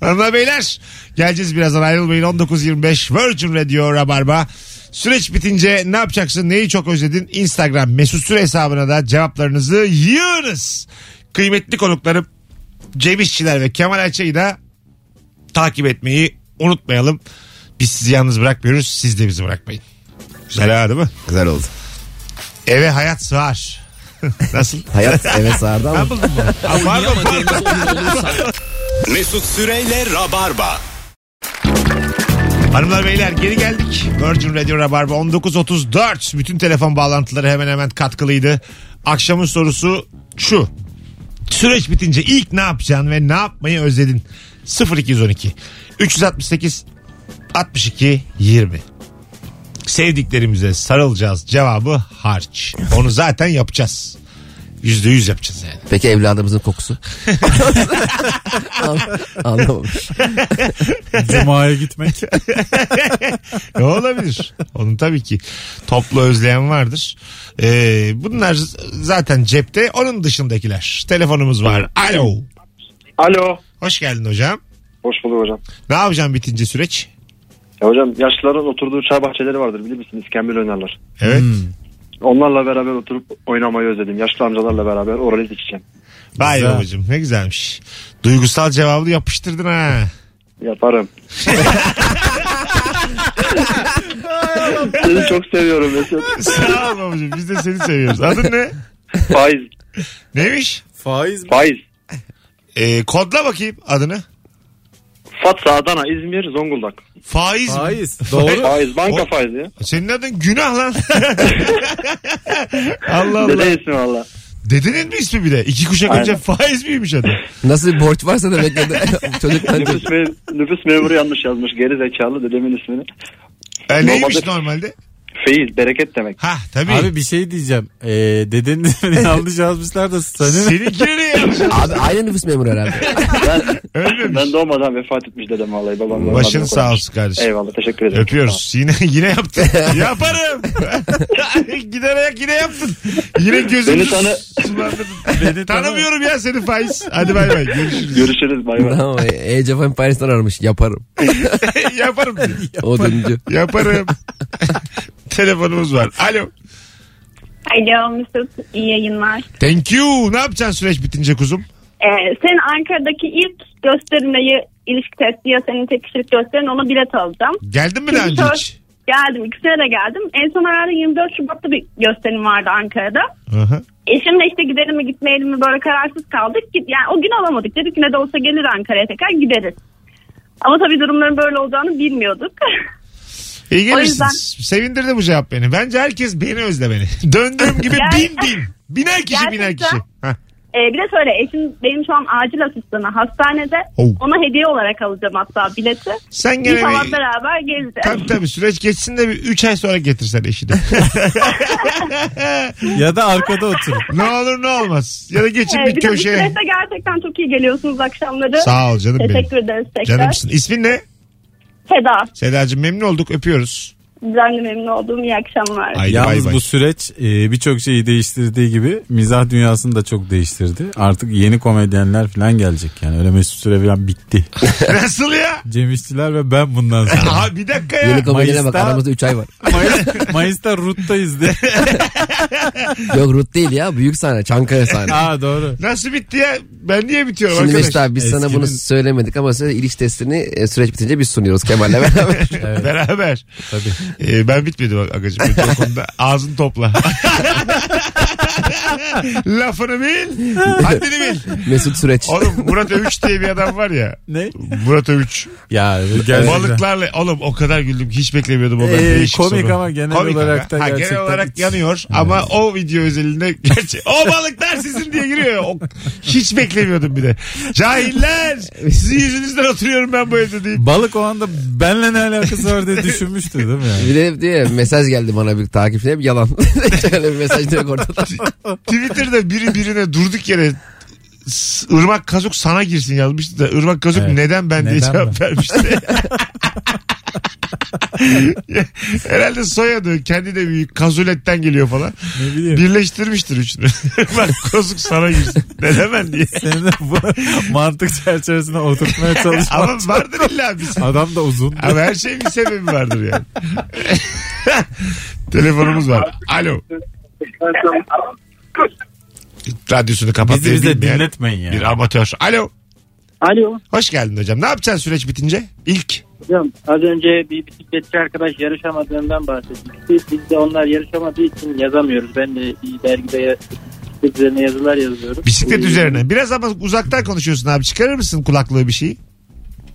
Speaker 2: Hanımlar beyler geleceğiz birazdan ayrılmayın 19.25 Virgin Radio Rabarba. Süreç bitince ne yapacaksın neyi çok özledin Instagram mesut süre hesabına da cevaplarınızı yığınız. Kıymetli konuklarım Cem İşçiler ve Kemal Ayça'yı da takip etmeyi unutmayalım. Biz sizi yalnız bırakmıyoruz siz de bizi bırakmayın. Güzel ha değil mi?
Speaker 5: Güzel oldu.
Speaker 2: Eve hayat sığar. Nasıl?
Speaker 5: Hayat eve sardı ama.
Speaker 2: Ha, pardon, pardon.
Speaker 1: Mesut Süreyle Rabarba.
Speaker 2: Hanımlar beyler geri geldik. Virgin Radio Rabarba 19.34. Bütün telefon bağlantıları hemen hemen katkılıydı. Akşamın sorusu şu. Süreç bitince ilk ne yapacaksın ve ne yapmayı özledin? 0212 368 62 20 Sevdiklerimize sarılacağız cevabı harç. Onu zaten yapacağız. %100 yapacağız yani.
Speaker 5: Peki evladımızın kokusu? An- Anlamamış.
Speaker 4: Cuma'ya gitmek.
Speaker 2: E, olabilir. Onun tabii ki toplu özleyen vardır. Ee, bunlar zaten cepte. Onun dışındakiler. Telefonumuz var. Alo.
Speaker 6: Alo.
Speaker 2: Hoş geldin hocam.
Speaker 6: Hoş bulduk hocam.
Speaker 2: Ne yapacağım bitince süreç?
Speaker 6: Ya hocam yaşlıların oturduğu çay bahçeleri vardır bilir misiniz? İskambil oynarlar.
Speaker 2: Evet.
Speaker 6: Onlarla beraber oturup oynamayı özledim. Yaşlı amcalarla beraber oraliz içeceğim.
Speaker 2: Vay
Speaker 4: Güzel.
Speaker 2: babacığım ne güzelmiş. Duygusal cevabı yapıştırdın ha.
Speaker 6: Yaparım. Seni çok seviyorum Mesut.
Speaker 2: Sağ ol babacığım. Biz de seni seviyoruz. Adın ne?
Speaker 6: Faiz.
Speaker 2: Neymiş?
Speaker 4: Faiz
Speaker 6: Faiz.
Speaker 2: Ee, kodla bakayım adını.
Speaker 6: Fatsa, Adana, İzmir, Zonguldak.
Speaker 2: Faiz. mi?
Speaker 4: Faiz. Doğru.
Speaker 6: Faiz, banka
Speaker 2: O-
Speaker 6: faizi ya.
Speaker 2: Senin adın günah lan. Allah Allah.
Speaker 6: Dede ismi valla.
Speaker 2: Dedenin mi ismi bir de? İki kuşak
Speaker 6: Aynen.
Speaker 2: önce faiz miymiş adı?
Speaker 5: Nasıl bir borç varsa demek ki çocuktan çok.
Speaker 6: Nüfus, me- nüfus memuru yanlış yazmış. Geri zekalı dedemin ismini.
Speaker 2: E, neymiş
Speaker 6: Normalde-
Speaker 2: normalde?
Speaker 12: Feyiz, bereket demek.
Speaker 2: Ha tabii.
Speaker 4: Abi bir şey diyeceğim. Ee, dedenin ismini yanlış yazmışlar da senin.
Speaker 5: Abi aynı nüfus memuru herhalde.
Speaker 12: Ben doğmadan vefat etmiş dedem vallahi babam.
Speaker 2: Başın
Speaker 12: Babam
Speaker 2: sağ
Speaker 12: koymuş.
Speaker 2: olsun kardeşim.
Speaker 12: Eyvallah teşekkür ederim.
Speaker 2: Öpüyoruz. Yine yine yaptın. Yaparım. Gider ayak yine yaptın. Yine gözümü
Speaker 12: Beni tanı-
Speaker 2: sulandırdın. Tanımıyorum ya seni Faiz. Hadi bay bay. Görüşürüz.
Speaker 12: Görüşürüz bay bay.
Speaker 5: tamam. Ece Fan Paris'ten aramış. Yaparım.
Speaker 2: Yaparım.
Speaker 5: O dönücü.
Speaker 2: Yaparım. Telefonumuz var. Alo.
Speaker 13: Alo Mesut iyi yayınlar.
Speaker 2: Thank you. Ne yapacaksın süreç bitince kuzum?
Speaker 13: Ee, senin Ankara'daki ilk gösterimle ilişki testi ya senin tek kişilik gösterin ona bilet alacağım.
Speaker 2: Geldin mi daha
Speaker 13: Şimdi
Speaker 2: önce
Speaker 13: sor-
Speaker 2: hiç?
Speaker 13: Geldim ikisine de geldim. En son herhalde 24 Şubat'ta bir gösterim vardı Ankara'da.
Speaker 2: Aha.
Speaker 13: Eşimle işte gidelim mi gitmeyelim mi böyle kararsız kaldık. Git- Yani o gün alamadık dedik ne de olsa gelir Ankara'ya tekrar gideriz. Ama tabii durumların böyle olacağını bilmiyorduk.
Speaker 2: İyi
Speaker 13: O
Speaker 2: gelirsiniz.
Speaker 13: yüzden-
Speaker 2: Sevindirdi bu cevap beni. Bence herkes beni özle beni. Döndüğüm gibi
Speaker 13: Ger-
Speaker 2: bin bin. Biner kişi biner
Speaker 13: Gerçekten.
Speaker 2: kişi. Hah.
Speaker 13: Ee, bir de şöyle eşim benim şu an acil asistanı hastanede
Speaker 2: Oh.
Speaker 13: ona hediye olarak alacağım hatta bileti.
Speaker 2: Sen
Speaker 13: Biz
Speaker 2: gene bir-
Speaker 13: falan beraber gezeceğiz.
Speaker 2: Tabii tabii süreç geçsin de bir 3 ay sonra getirsen eşini.
Speaker 4: ya da arkada otur.
Speaker 2: ne olur ne olmaz. Ya da geçin
Speaker 13: Ee,
Speaker 2: bir
Speaker 13: de bu
Speaker 2: köşeye.
Speaker 13: strese gerçekten çok iyi geliyorsunuz akşamları.
Speaker 2: Sağ ol canım benim.
Speaker 13: Teşekkür ederiz tekrar.
Speaker 2: Canımsın. İsmin ne?
Speaker 13: Seda.
Speaker 2: Sedacığım memnun olduk öpüyoruz.
Speaker 13: Düzenli memnun olduğum iyi akşamlar.
Speaker 2: Haydi
Speaker 4: Yalnız
Speaker 2: bay bay.
Speaker 4: bu süreç e, birçok şeyi değiştirdiği gibi mizah dünyasını da çok değiştirdi. Artık yeni komedyenler falan gelecek yani. Öyle mesut süre falan bitti.
Speaker 2: Nasıl ya?
Speaker 4: Cem İşçiler ve ben bundan sonra.
Speaker 2: Aha bir dakika ya.
Speaker 5: Yeni komedyene bak
Speaker 4: Mayıs'ta-
Speaker 5: aramızda 3 ay var.
Speaker 4: Mayıs, Mayıs'ta Rut'tayız de.
Speaker 5: Yok Rut değil ya. Büyük sahne. Çankaya sahne.
Speaker 4: Aa doğru.
Speaker 2: Nasıl bitti ya? Ben niye bitiyorum
Speaker 5: Şimdi
Speaker 2: arkadaş?
Speaker 5: Mesut abi biz sana
Speaker 4: Eskinin-
Speaker 5: bunu söylemedik ama size iliş testini e, süreç bitince biz sunuyoruz Kemal'le beraber.
Speaker 2: Beraber.
Speaker 4: Tabii.
Speaker 2: Ee, ben bitmedim bak agacım. Benim o konuda ağzını topla. Lafını bil. Haddini bil.
Speaker 5: Mesut Süreç.
Speaker 2: Oğlum Murat Övüç diye bir adam var ya.
Speaker 4: Ne?
Speaker 2: Murat Övüç.
Speaker 4: Ya gerçekten.
Speaker 2: Balıklarla oğlum o kadar güldüm ki hiç beklemiyordum o kadar
Speaker 4: Ee,
Speaker 2: değişik
Speaker 4: komik
Speaker 2: soru.
Speaker 4: ama genel olarak da
Speaker 2: ha,
Speaker 4: gerçekten
Speaker 2: genel olarak
Speaker 4: hiç-
Speaker 2: yanıyor ama o video özelinde gerçi o balıklar sizin diye giriyor. O, hiç beklemiyordum bir de. Cahiller sizin yüzünüzden oturuyorum ben bu evde deyip.
Speaker 4: Balık o anda benle ne alakası var diye düşünmüştü değil mi yani?
Speaker 5: Bir de diye mesaj geldi bana bir takipçi hep yalan. Hiç öyle bir mesaj da yok ortada.
Speaker 2: Twitter'da biri birine durduk yere "S- ırmak kazuk sana girsin yazmıştı da ırmak kazuk
Speaker 4: Evet.
Speaker 2: neden ben diye
Speaker 4: Neden
Speaker 2: cevap
Speaker 4: ben?
Speaker 2: vermişti. Herhalde soyadı kendi de büyük kazuletten geliyor falan.
Speaker 4: Ne bileyim.
Speaker 2: Birleştirmiştir üçünü. Bak kazuk sana girsin. Neden ben diye.
Speaker 4: Senin de bu mantık çerçevesine oturtmaya çalışmak.
Speaker 2: Ama vardır illa bir sebebi.
Speaker 4: Adam da uzun.
Speaker 2: Ama her şeyin bir sebebi vardır yani. Telefonumuz var. Alo. Radyosunu kapat.
Speaker 4: Bizi bize
Speaker 2: dinletme
Speaker 4: dinletmeyin ya.
Speaker 2: Bir amatör. Alo.
Speaker 14: Alo.
Speaker 2: Hoş geldin hocam. Ne yapacaksın süreç bitince? İlk.
Speaker 14: Hocam az önce bir bisikletçi arkadaş yarışamadığından bahsetmişti. Biz de onlar yarışamadığı için yazamıyoruz. Ben de bir dergide ya- bisiklet üzerine yazılar yazıyorum.
Speaker 2: Bisiklet
Speaker 14: Ee,
Speaker 2: üzerine. Biraz ama uzaktan konuşuyorsun abi. Çıkarır mısın kulaklığı bir şeyi?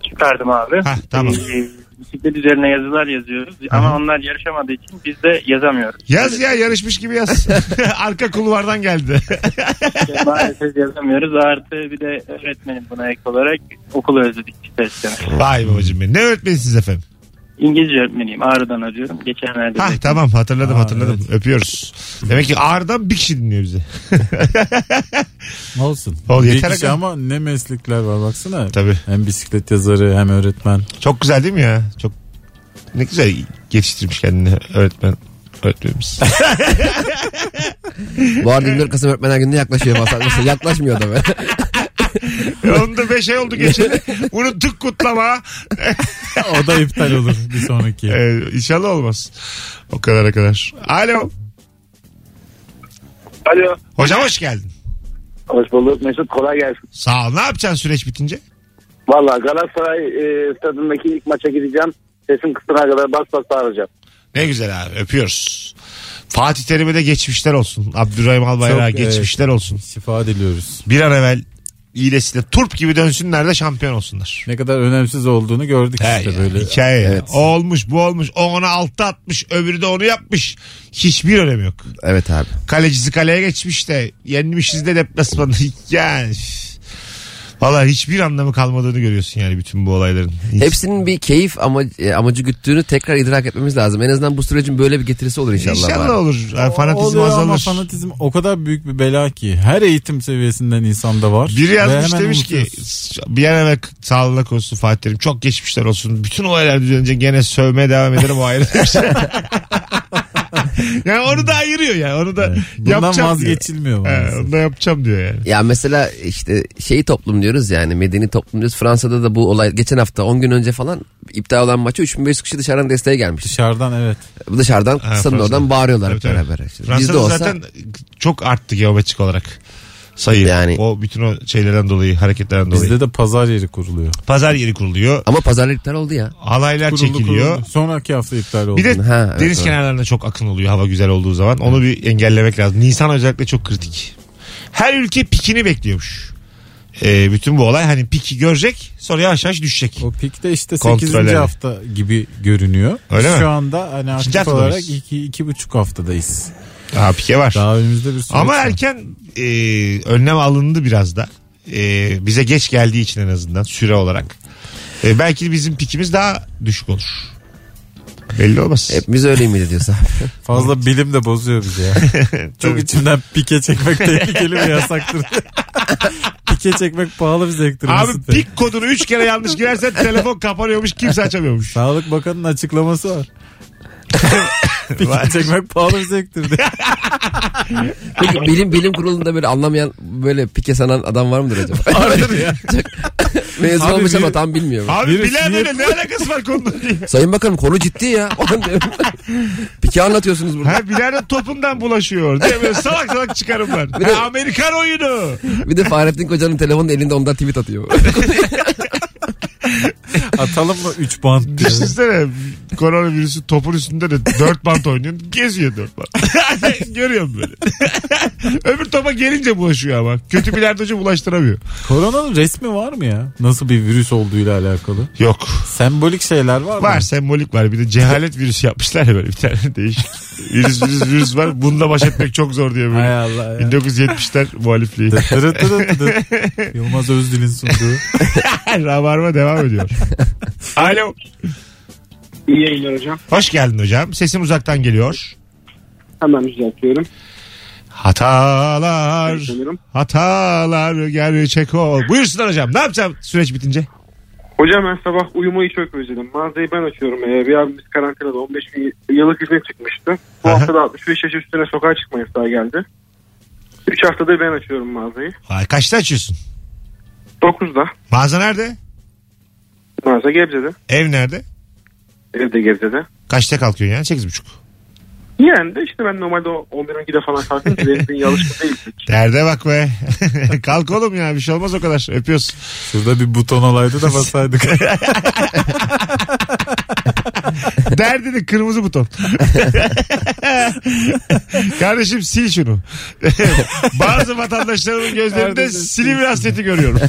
Speaker 14: Çıkardım abi.
Speaker 2: Hah tamam.
Speaker 14: Ee, bisiklet üzerine yazılar yazıyoruz. Ama onlar yarışamadığı için biz de yazamıyoruz.
Speaker 2: Yaz ya yarışmış gibi yaz. Arka kulvardan geldi.
Speaker 14: İşte maalesef yazamıyoruz. Artı bir de öğretmenim buna ek olarak okulu özledik işte. sene.
Speaker 2: Vay babacım benim. Ne öğretmenisiniz efendim?
Speaker 14: İngilizce öğretmeniyim. Ağrı'dan arıyorum. Geçenlerde
Speaker 2: Hah
Speaker 14: de-
Speaker 2: tamam hatırladım
Speaker 4: Aa,
Speaker 2: hatırladım. Öpüyoruz. Demek ki ağırdan bir kişi dinliyor bizi.
Speaker 4: Olsun.
Speaker 2: Ol,
Speaker 4: Bir
Speaker 2: yeter
Speaker 4: kişi
Speaker 2: aga.
Speaker 4: ama ne meslekler var baksana.
Speaker 2: Tabii.
Speaker 4: Hem bisiklet yazarı hem öğretmen.
Speaker 2: Çok güzel değil mi ya? Çok ne güzel yetiştirmiş kendini öğretmen öğretmenimiz.
Speaker 5: Bu arada 24 Kasım Öğretmenler Günü'ne yaklaşıyor. Mesela- Mesela yaklaşmıyor da be.
Speaker 2: Onda 5 ay oldu geçeli. Unuttuk kutlama.
Speaker 4: O da iptal olur bir sonraki.
Speaker 2: Ee, inşallah olmaz. O kadara kadar. Alo.
Speaker 12: Alo.
Speaker 2: Hocam hoş geldin.
Speaker 12: Hoş bulduk Mesut kolay gelsin.
Speaker 2: Sağ ol. Ne yapacaksın süreç bitince?
Speaker 12: Valla Galatasaray e, stadındaki ilk maça gideceğim. Sesim kısına kadar bas bas bağıracağım.
Speaker 2: Ne güzel abi öpüyoruz. Fatih Terim'e de geçmişler olsun. Abdurrahim Albayrak'a
Speaker 4: Çok, evet.
Speaker 2: geçmişler olsun.
Speaker 4: Şifa diliyoruz.
Speaker 2: Bir an evvel iyileşsinler. Turp gibi dönsünler de şampiyon olsunlar.
Speaker 4: Ne kadar önemsiz olduğunu gördük
Speaker 2: He
Speaker 4: işte
Speaker 2: ya,
Speaker 4: böyle.
Speaker 2: Hikaye ya.
Speaker 4: Evet.
Speaker 2: O olmuş bu olmuş. O ona altı atmış öbürü de onu yapmış. Hiçbir önemi yok.
Speaker 5: Evet abi.
Speaker 2: Kalecisi kaleye geçmiş de yenmişiz de deplasmanı. Yani üf. Valla hiçbir anlamı kalmadığını görüyorsun yani bütün bu olayların.
Speaker 5: Hepsinin bir keyif ama, e, amacı güttüğünü tekrar idrak etmemiz lazım. En azından bu sürecin böyle bir getirisi olur inşallah. bari.
Speaker 2: Yani fanatizm
Speaker 4: Oluyor ama
Speaker 2: azalır.
Speaker 4: fanatizm o kadar büyük bir bela ki her eğitim seviyesinden insanda var.
Speaker 2: Biri
Speaker 4: Ve
Speaker 2: yazmış
Speaker 4: hemen
Speaker 2: demiş ki
Speaker 4: unutuyorsun.
Speaker 2: bir an evvel sağlık olsun Fatih Terim. Çok geçmişler olsun. Bütün olaylar düzelince gene sövmeye devam ederim o ayrı bir şey. yani onu da ayırıyor yani. Onu da
Speaker 4: Bundan
Speaker 2: yapacağım diyor.
Speaker 4: vazgeçilmiyor
Speaker 2: He,
Speaker 4: maalesef.
Speaker 2: onu da yapacağım diyor yani.
Speaker 5: Ya mesela işte şeyi toplum diyoruz yani medeni toplum diyoruz. Fransa'da da bu olay geçen hafta 10 gün önce falan iptal olan maça 3500 kişi dışarıdan desteğe gelmiş.
Speaker 4: Dışarıdan evet.
Speaker 5: Dışarıdan
Speaker 2: Ha,
Speaker 5: sınırın
Speaker 2: Fransa'da.
Speaker 5: oradan bağırıyorlar
Speaker 2: Tabii,
Speaker 5: hep
Speaker 2: tabii.
Speaker 5: beraber. İşte Biz de
Speaker 2: Fransa'da
Speaker 5: olsa
Speaker 2: zaten çok arttı geometrik olarak sayı. Yani, o bütün o şeylerden dolayı, hareketlerden dolayı.
Speaker 4: Bizde de pazar yeri kuruluyor.
Speaker 2: Pazar yeri kuruluyor.
Speaker 5: ama pazarlar iptal oldu ya.
Speaker 2: Halaylar
Speaker 4: Kuruldu,
Speaker 2: çekiliyor.
Speaker 4: kuruldu. Sonraki hafta iptal oldu.
Speaker 2: Bir de
Speaker 5: Ha, evet,
Speaker 2: deniz
Speaker 5: doğru.
Speaker 2: kenarlarında çok akın oluyor hava güzel olduğu zaman. Onu bir engellemek lazım. Nisan özellikle çok kritik. Her ülke pikini bekliyormuş. Ee, bütün bu olay hani piki görecek sonra yavaş yavaş düşecek.
Speaker 4: O pikte işte
Speaker 2: Kontrol
Speaker 4: 8.
Speaker 2: yani.
Speaker 4: hafta gibi görünüyor.
Speaker 2: Öyle
Speaker 4: Şu
Speaker 2: mi?
Speaker 4: anda hani aktif
Speaker 2: hafta
Speaker 4: olarak
Speaker 2: mıyız?
Speaker 4: 2 iki, iki buçuk haftadayız.
Speaker 2: Aa, pike var.
Speaker 4: Daha önümüzde bir süreç
Speaker 2: Ama
Speaker 4: var.
Speaker 2: erken e, önlem alındı biraz da. E, bize geç geldiği için en azından süre olarak. E, belki bizim pikimiz daha düşük olur. Belli olmaz.
Speaker 5: Hepimiz öyle miydi diyorsa.
Speaker 4: Fazla bilim de bozuyor bizi ya. Çok içimden pike çekmek tehlikeli ve yasaktır. pike çekmek pahalı bir zevktir.
Speaker 2: Abi
Speaker 4: Mesut Bey.
Speaker 2: pik kodunu 3 kere yanlış girersen telefon kapanıyormuş kimse açamıyormuş.
Speaker 4: Sağlık Bakanı'nın açıklaması var.
Speaker 2: Vay.
Speaker 4: Pike çekmek pahalı bir zevktir. diye.
Speaker 5: Peki bilim bilim kurulunda böyle anlamayan böyle pike sanan adam var mıdır acaba? Mezun
Speaker 4: Abi
Speaker 5: olmuş
Speaker 4: bir-
Speaker 5: ama tam bilmiyor.
Speaker 2: Abi
Speaker 4: Virüs
Speaker 2: bilen
Speaker 4: niye-
Speaker 2: öyle ne alakası var konunun diye.
Speaker 5: Sayın Bakanım konu ciddi ya. pike anlatıyorsunuz burada.
Speaker 2: Ha bilardo topundan bulaşıyor diye böyle salak salak çıkarımlar.
Speaker 5: de-
Speaker 2: Ha, Amerikan oyunu.
Speaker 5: Bir de Fahrettin Koca'nın telefonun elinde ondan tweet atıyor.
Speaker 4: Atalım mı 3 bant diye.
Speaker 2: Düşünsene koronavirüsü topun üstünde de dört bant oynuyor. Geziyor dört bant. Görüyorum böyle. Öbür topa gelince bulaşıyor ama. Kötü bilardocu bulaştıramıyor.
Speaker 4: Koronanın resmi var mı ya? Nasıl bir virüs olduğuyla alakalı.
Speaker 2: Yok.
Speaker 4: Sembolik şeyler var mı?
Speaker 2: Var sembolik var. Bir de cehalet virüsü yapmışlar ya böyle bir tane değişik. Virüs virüs virüs var. Bununla baş etmek çok zor diye
Speaker 4: Hay
Speaker 2: böyle.
Speaker 4: Allah ya.
Speaker 2: 1970'ler muhalifliği.
Speaker 4: Dırı dırı dırı. Yılmaz Özdil'in sunduğu.
Speaker 2: Rabarba devam ediyor. Alo.
Speaker 15: İyi yayınlar hocam.
Speaker 2: Hoş geldin hocam. Sesim uzaktan geliyor.
Speaker 15: Hemen düzeltiyorum.
Speaker 2: Hatalar.
Speaker 15: Sanırım.
Speaker 2: Hatalar gerçek ol. Buyursunlar hocam. Ne yapacağım süreç bitince?
Speaker 15: Hocam ben sabah uyumayı çok özledim. Mağazayı ben açıyorum. Ee, bir abimiz karantinada 15 gün yıllık izne çıkmıştı. Bu hafta da 65 yaş üstüne sokağa çıkma yasağı geldi. 3 haftadır ben açıyorum mağazayı.
Speaker 2: Ay, kaçta açıyorsun?
Speaker 15: 9'da
Speaker 2: Mağaza nerede?
Speaker 15: mağaza Gebze'de.
Speaker 2: Ev nerede?
Speaker 15: Evde Gebze'de.
Speaker 2: Kaçta kalkıyorsun yani? Sekiz buçuk.
Speaker 15: Yani de işte ben normalde 11-12'de falan kalkınca benim için alışkın değildim.
Speaker 2: Derde bak be. Kalk oğlum ya bir şey olmaz o kadar. Öpüyoruz.
Speaker 4: Şurada bir buton olaydı da basaydık.
Speaker 2: Derdini kırmızı buton. Kardeşim sil şunu. Bazı vatandaşlarımın gözlerinde
Speaker 4: Kardeşim,
Speaker 2: Silivri hasreti görüyorum.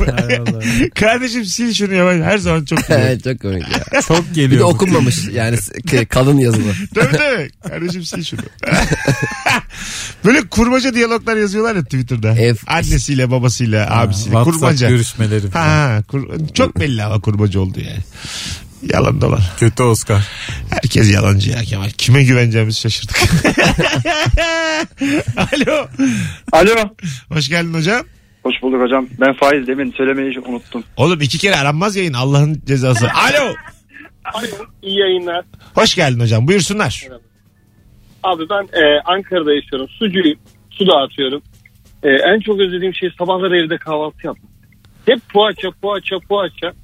Speaker 2: Kardeşim sil şunu ya. Ben her zaman çok gülüyorum.
Speaker 5: Çok komik ya.
Speaker 4: Çok
Speaker 5: Bir de
Speaker 4: geliyor.
Speaker 5: okunmamış yani s- kalın yazılı.
Speaker 2: Tabii tabii. Kardeşim sil şunu. Böyle kurmaca diyaloglar yazıyorlar ya Twitter'da.
Speaker 5: Ev-
Speaker 2: Annesiyle, babasıyla, abisiyle.
Speaker 4: WhatsApp
Speaker 2: kurmaca.
Speaker 4: görüşmeleri.
Speaker 2: Ha, ha, kur- çok belli ama kurmacı oldu yani. Yalan dolan.
Speaker 4: Kötü Oscar.
Speaker 2: Herkes yalancı ya Kemal. Kime güveneceğimizi şaşırdık. Alo.
Speaker 16: Alo.
Speaker 2: Hoş geldin hocam.
Speaker 16: Hoş bulduk hocam. Ben Faiz demin söylemeyi unuttum.
Speaker 2: Oğlum iki kere aranmaz yayın Allah'ın cezası. Alo.
Speaker 10: Alo, iyi yayınlar.
Speaker 2: Hoş geldin hocam buyursunlar.
Speaker 10: Abi ben e, Ankara'da yaşıyorum. Sucuyum. Su dağıtıyorum. E, en çok özlediğim şey sabahları evde kahvaltı yapmak. Hep poğaça, poğaça, poğaça.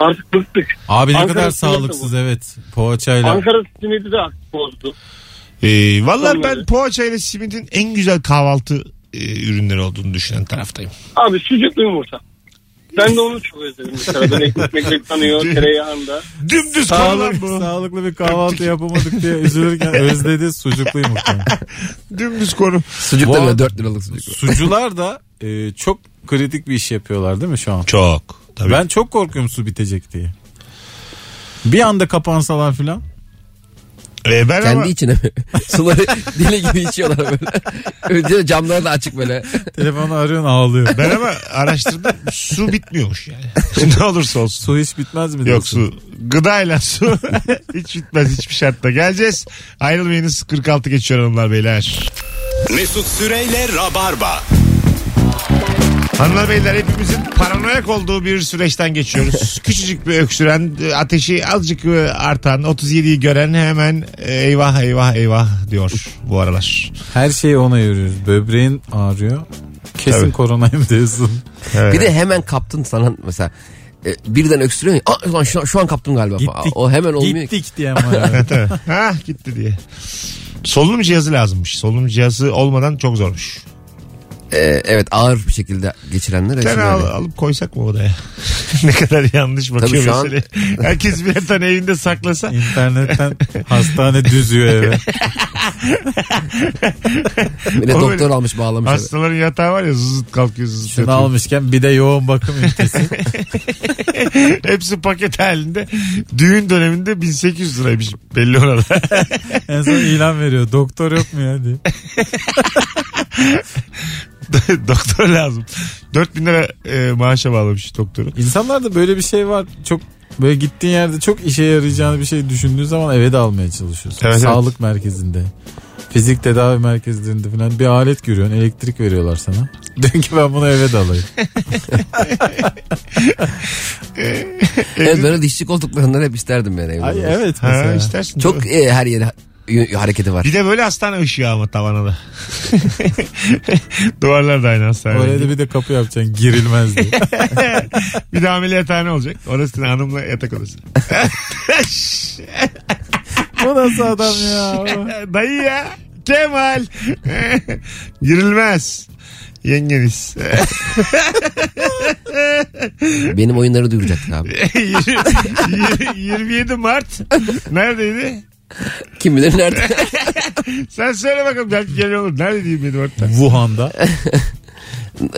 Speaker 10: Artık bıktık.
Speaker 4: Abi ne
Speaker 10: Ankara
Speaker 4: kadar
Speaker 10: sinirli bu.
Speaker 4: sağlıksız evet. Poğaçayla.
Speaker 10: Ankara sinirli de artık bozdu.
Speaker 2: Ee, Valla
Speaker 10: Tamam
Speaker 2: ben
Speaker 10: abi.
Speaker 2: poğaça ile simitin en güzel kahvaltı e, ürünleri olduğunu düşünen taraftayım.
Speaker 10: Abi sucuklu yumurta. Ben de onu çok özledim mesela. Ben ekmekle tanıyor tereyağında.
Speaker 2: Dümdüz konu lan
Speaker 4: Sağlık,
Speaker 2: bu.
Speaker 4: sağlıklı bir kahvaltı yapamadık diye üzülürken özledi sucuklu yumurta.
Speaker 2: Dümdüz konu.
Speaker 5: Sucuk
Speaker 4: Bu
Speaker 5: da böyle
Speaker 4: arada-
Speaker 5: 4 liralık sucuk.
Speaker 4: Sucular da e, çok kritik bir iş yapıyorlar değil mi şu an?
Speaker 2: Çok. Tabii.
Speaker 4: Ben çok korkuyorum su bitecek diye. Bir anda kapansalar filan.
Speaker 2: Ee, ben
Speaker 5: Kendi
Speaker 2: ama-
Speaker 5: içine mi? Suları deli gibi içiyorlar böyle. Öyle değil mi? Camları da açık böyle.
Speaker 4: Telefonu arıyorsun ağlıyor.
Speaker 2: Ben ama araştırdım su bitmiyormuş yani. ne olursa olsun.
Speaker 4: Su hiç bitmez mi?
Speaker 2: Yok
Speaker 4: diyorsun?
Speaker 2: su. Gıdayla su. hiç bitmez hiçbir şartta. Geleceğiz. Ayrılmayınız. 46 geçiyor hanımlar beyler.
Speaker 1: Mesut Süreyle Rabarba.
Speaker 2: Hanımlar beyler hepimizin paranoyak olduğu bir süreçten geçiyoruz. Küçücük bir öksüren, ateşi azıcık e, artan, 37'yi gören hemen e, eyvah eyvah eyvah diyor bu aralar.
Speaker 4: Her şeyi ona yürüyoruz. Böbreğin ağrıyor. Kesin
Speaker 2: Tabii.
Speaker 4: koronayım diyorsun.
Speaker 5: Bir de hemen kaptın sana mesela. e, birden öksürüyorsun. ya, Aa, ulan şu, an, şu an kaptım galiba.
Speaker 4: Gittik.
Speaker 5: o hemen olmuyor. ki.
Speaker 4: Gittik diye ama.
Speaker 2: Evet, evet. ha gitti diye. Solunum cihazı lazımmış. Solunum cihazı olmadan çok zormuş.
Speaker 5: E, evet ağır bir şekilde geçirenler.
Speaker 2: Bir tane
Speaker 5: yaşıyor
Speaker 2: al-
Speaker 5: böyle.
Speaker 2: alıp koysak mı odaya? ne kadar yanlış bakıyor
Speaker 5: şu an-
Speaker 2: meseleye. Herkes birer tane evinde saklasa.
Speaker 4: İnternetten hastane düzüyor eve.
Speaker 5: Bir de
Speaker 2: O
Speaker 5: doktor
Speaker 2: böyle-
Speaker 5: almış bağlamış. eve.
Speaker 2: Hastaların yatağı var ya zızıt kalkıyor zızıt
Speaker 4: Şunu
Speaker 2: yatıyor.
Speaker 4: almışken bir de yoğun bakım ünitesi.
Speaker 2: Hepsi paket halinde. Düğün döneminde 1800 liraymış belli orada.
Speaker 4: en son ilan veriyor. Doktor yok mu ya diye.
Speaker 2: Doktor lazım. 4000 lira e, maaşa bağlamış doktoru.
Speaker 4: İnsanlarda böyle bir şey var. Çok böyle gittiğin yerde çok işe yarayacağını bir şey düşündüğün zaman eve de almaya çalışıyorsun.
Speaker 2: Evet, evet.
Speaker 4: Sağlık merkezinde. Fizik tedavi merkezlerinde falan bir alet görüyorsun. Elektrik veriyorlar sana. Diyorsun ki ben bunu eve de alayım.
Speaker 5: Evet böyle dişçi koltuklarından hep isterdim ben evde.
Speaker 4: Ay,
Speaker 5: olması.
Speaker 4: evet
Speaker 2: Ha,
Speaker 4: mesela.
Speaker 2: istersin.
Speaker 5: Çok
Speaker 2: Değil mi?
Speaker 5: e, her yeri ha- y- hareketi var.
Speaker 2: Bir de böyle hastane ışığı ama tavana da. Duvarlar da aynı hastane.
Speaker 4: Oraya da bir de kapı yapacaksın girilmez diye.
Speaker 2: Bir de ameliyathane olacak. Orası da hanımla yatak odası.
Speaker 4: Bu nasıl adam ya?
Speaker 2: Ee, Dayı ya. Kemal. Girilmez. Yengeniz.
Speaker 5: Benim oyunları duyuracaktık abi.
Speaker 2: Yirmi- 27 Mart. Neredeydi?
Speaker 5: Kim bilir nerede?
Speaker 2: Sen söyle bakalım belki geliyor olur. Neredeydi 27 Mart'ta?
Speaker 4: Wuhan'da.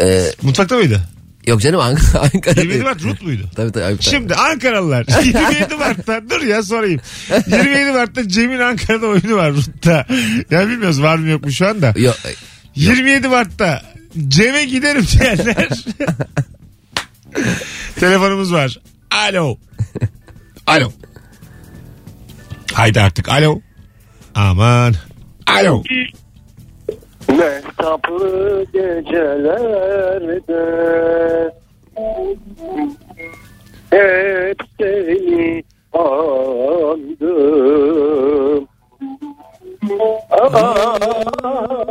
Speaker 5: Ee,
Speaker 2: Mutfakta mıydı?
Speaker 5: yok canım Ank- Ankara'da.
Speaker 2: 27 Mart Rut muydu?
Speaker 5: Tabii tabii. ayıp.
Speaker 2: Şimdi Ankaralılar 27 Mart'ta dur ya sorayım. 27 Mart'ta Cem'in Ankara'da oyunu var Rut'ta. Ya bilmiyoruz var mı yok mu şu anda.
Speaker 5: Yok,
Speaker 2: 27 Mart'ta Cem'e giderim diyenler. Telefonumuz var. Alo. Alo. Haydi artık alo. Aman. Alo.
Speaker 12: Mehtaplı gecelerde Hep seni andım Ah, ah,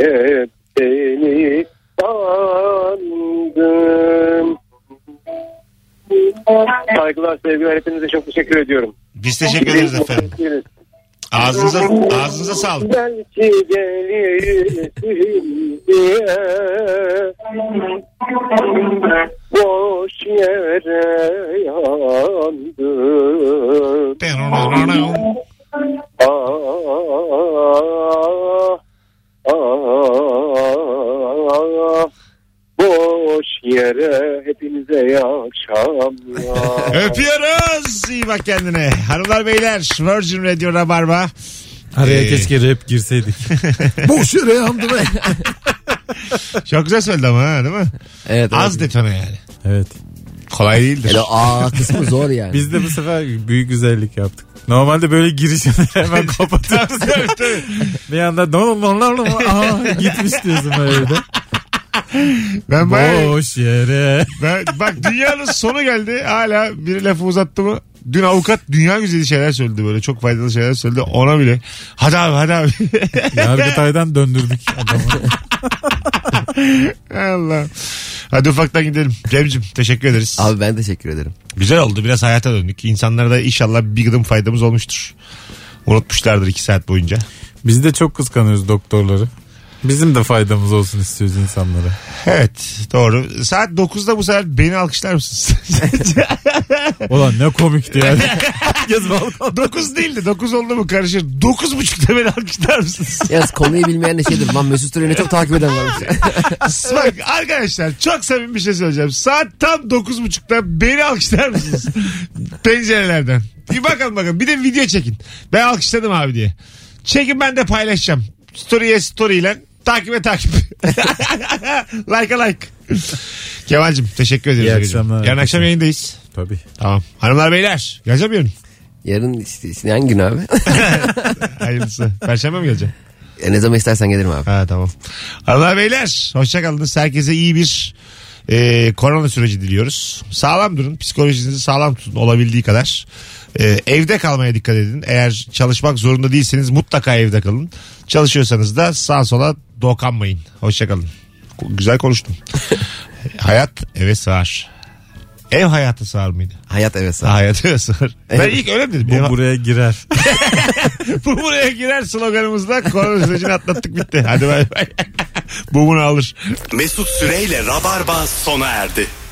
Speaker 12: Hep seni andım Saygılar, sevgiler hepinize çok teşekkür ediyorum.
Speaker 2: Biz teşekkür ederiz efendim. Ağzınıza, ağzınıza sağlık.
Speaker 12: Belki gelirsin diye Boş yere yandım Ah, ah, ah, Boş yere hepinize iyi akşamlar.
Speaker 2: Öpüyoruz. İyi bak kendine. Hanımlar beyler Virgin Radio Rabarba.
Speaker 4: Araya
Speaker 2: Ee.
Speaker 4: keşke rap girseydik. Boş yere yandı be.
Speaker 2: Çok güzel söyledi ama ha, değil mi?
Speaker 5: evet,
Speaker 2: Az
Speaker 5: evet.
Speaker 2: detone yani.
Speaker 4: Evet.
Speaker 2: Kolay değildir.
Speaker 5: Hele A kısmı zor yani.
Speaker 4: Biz de bu sefer büyük güzellik yaptık. Normalde böyle girişini hemen kapatıyoruz.
Speaker 2: Tabii, tabii.
Speaker 4: bir anda don don don don aa gitmiş diyorsun böyle de.
Speaker 2: ben bayağı,
Speaker 4: Boş yere.
Speaker 2: ben, bak dünyanın sonu geldi. Hala bir lafı uzattı mı? Dün avukat dünya güzeli şeyler söyledi böyle. Çok faydalı şeyler söyledi. Ona bile. Hadi abi hadi abi.
Speaker 4: Yargıtay'dan döndürdük adamı.
Speaker 2: Allah. Hadi ufaktan gidelim. Cem'cim teşekkür ederiz.
Speaker 5: Abi ben teşekkür ederim.
Speaker 2: Güzel oldu. Biraz hayata döndük. İnsanlara da inşallah bir gıdım faydamız olmuştur. Unutmuşlardır iki saat boyunca.
Speaker 4: Biz de çok kıskanıyoruz doktorları. Bizim de faydamız olsun istiyoruz insanlara.
Speaker 2: Evet doğru. Saat 9'da bu sefer beni alkışlar mısınız?
Speaker 4: Ulan ne komikti yani.
Speaker 2: 9 değildi. 9 oldu mu karışır. 9.30'da beni alkışlar mısınız?
Speaker 5: Yalnız konuyu bilmeyen de şeydir. Lan Mesut Süre'yi ne çok takip eden varmış.
Speaker 2: Bak arkadaşlar çok samimi bir şey söyleyeceğim. Saat tam 9.30'da beni alkışlar mısınız? Pencerelerden. Bir bakın bakın. Bir de video çekin. Ben alkışladım abi diye. Çekin ben de paylaşacağım. Story'e story ile takibe takip. like'a like. Kemal'cim teşekkür ederiz.
Speaker 4: İyi
Speaker 2: Ege'cim.
Speaker 4: akşamlar.
Speaker 2: Yarın akşam yayındayız.
Speaker 4: Tabii.
Speaker 2: Tamam. Hanımlar beyler geleceğim yarın.
Speaker 5: Yarın işte, hangi gün abi?
Speaker 2: Hayırlısı. Perşembe mi geleceğim?
Speaker 5: E, ne zaman istersen gelirim abi.
Speaker 2: Ha tamam. Hanımlar beyler hoşçakalınız. Herkese iyi bir e, korona süreci diliyoruz. Sağlam durun. Psikolojinizi sağlam tutun olabildiği kadar. E, evde kalmaya dikkat edin. Eğer çalışmak zorunda değilseniz mutlaka evde kalın. Çalışıyorsanız da sağa sola dokanmayın. Hoşçakalın. Güzel konuştum. Hayat eve sığar. Ev hayatı sığar mıydı?
Speaker 5: Hayat eve sığar.
Speaker 2: Hayat eve sığar. Ben ilk öyle mi dedim. Ev-
Speaker 4: Bu buraya girer.
Speaker 2: bu buraya girer sloganımızla korona sürecini atlattık bitti. Hadi bay bay. bu bunu alır.
Speaker 1: Mesut Süreyle Rabarba sona erdi.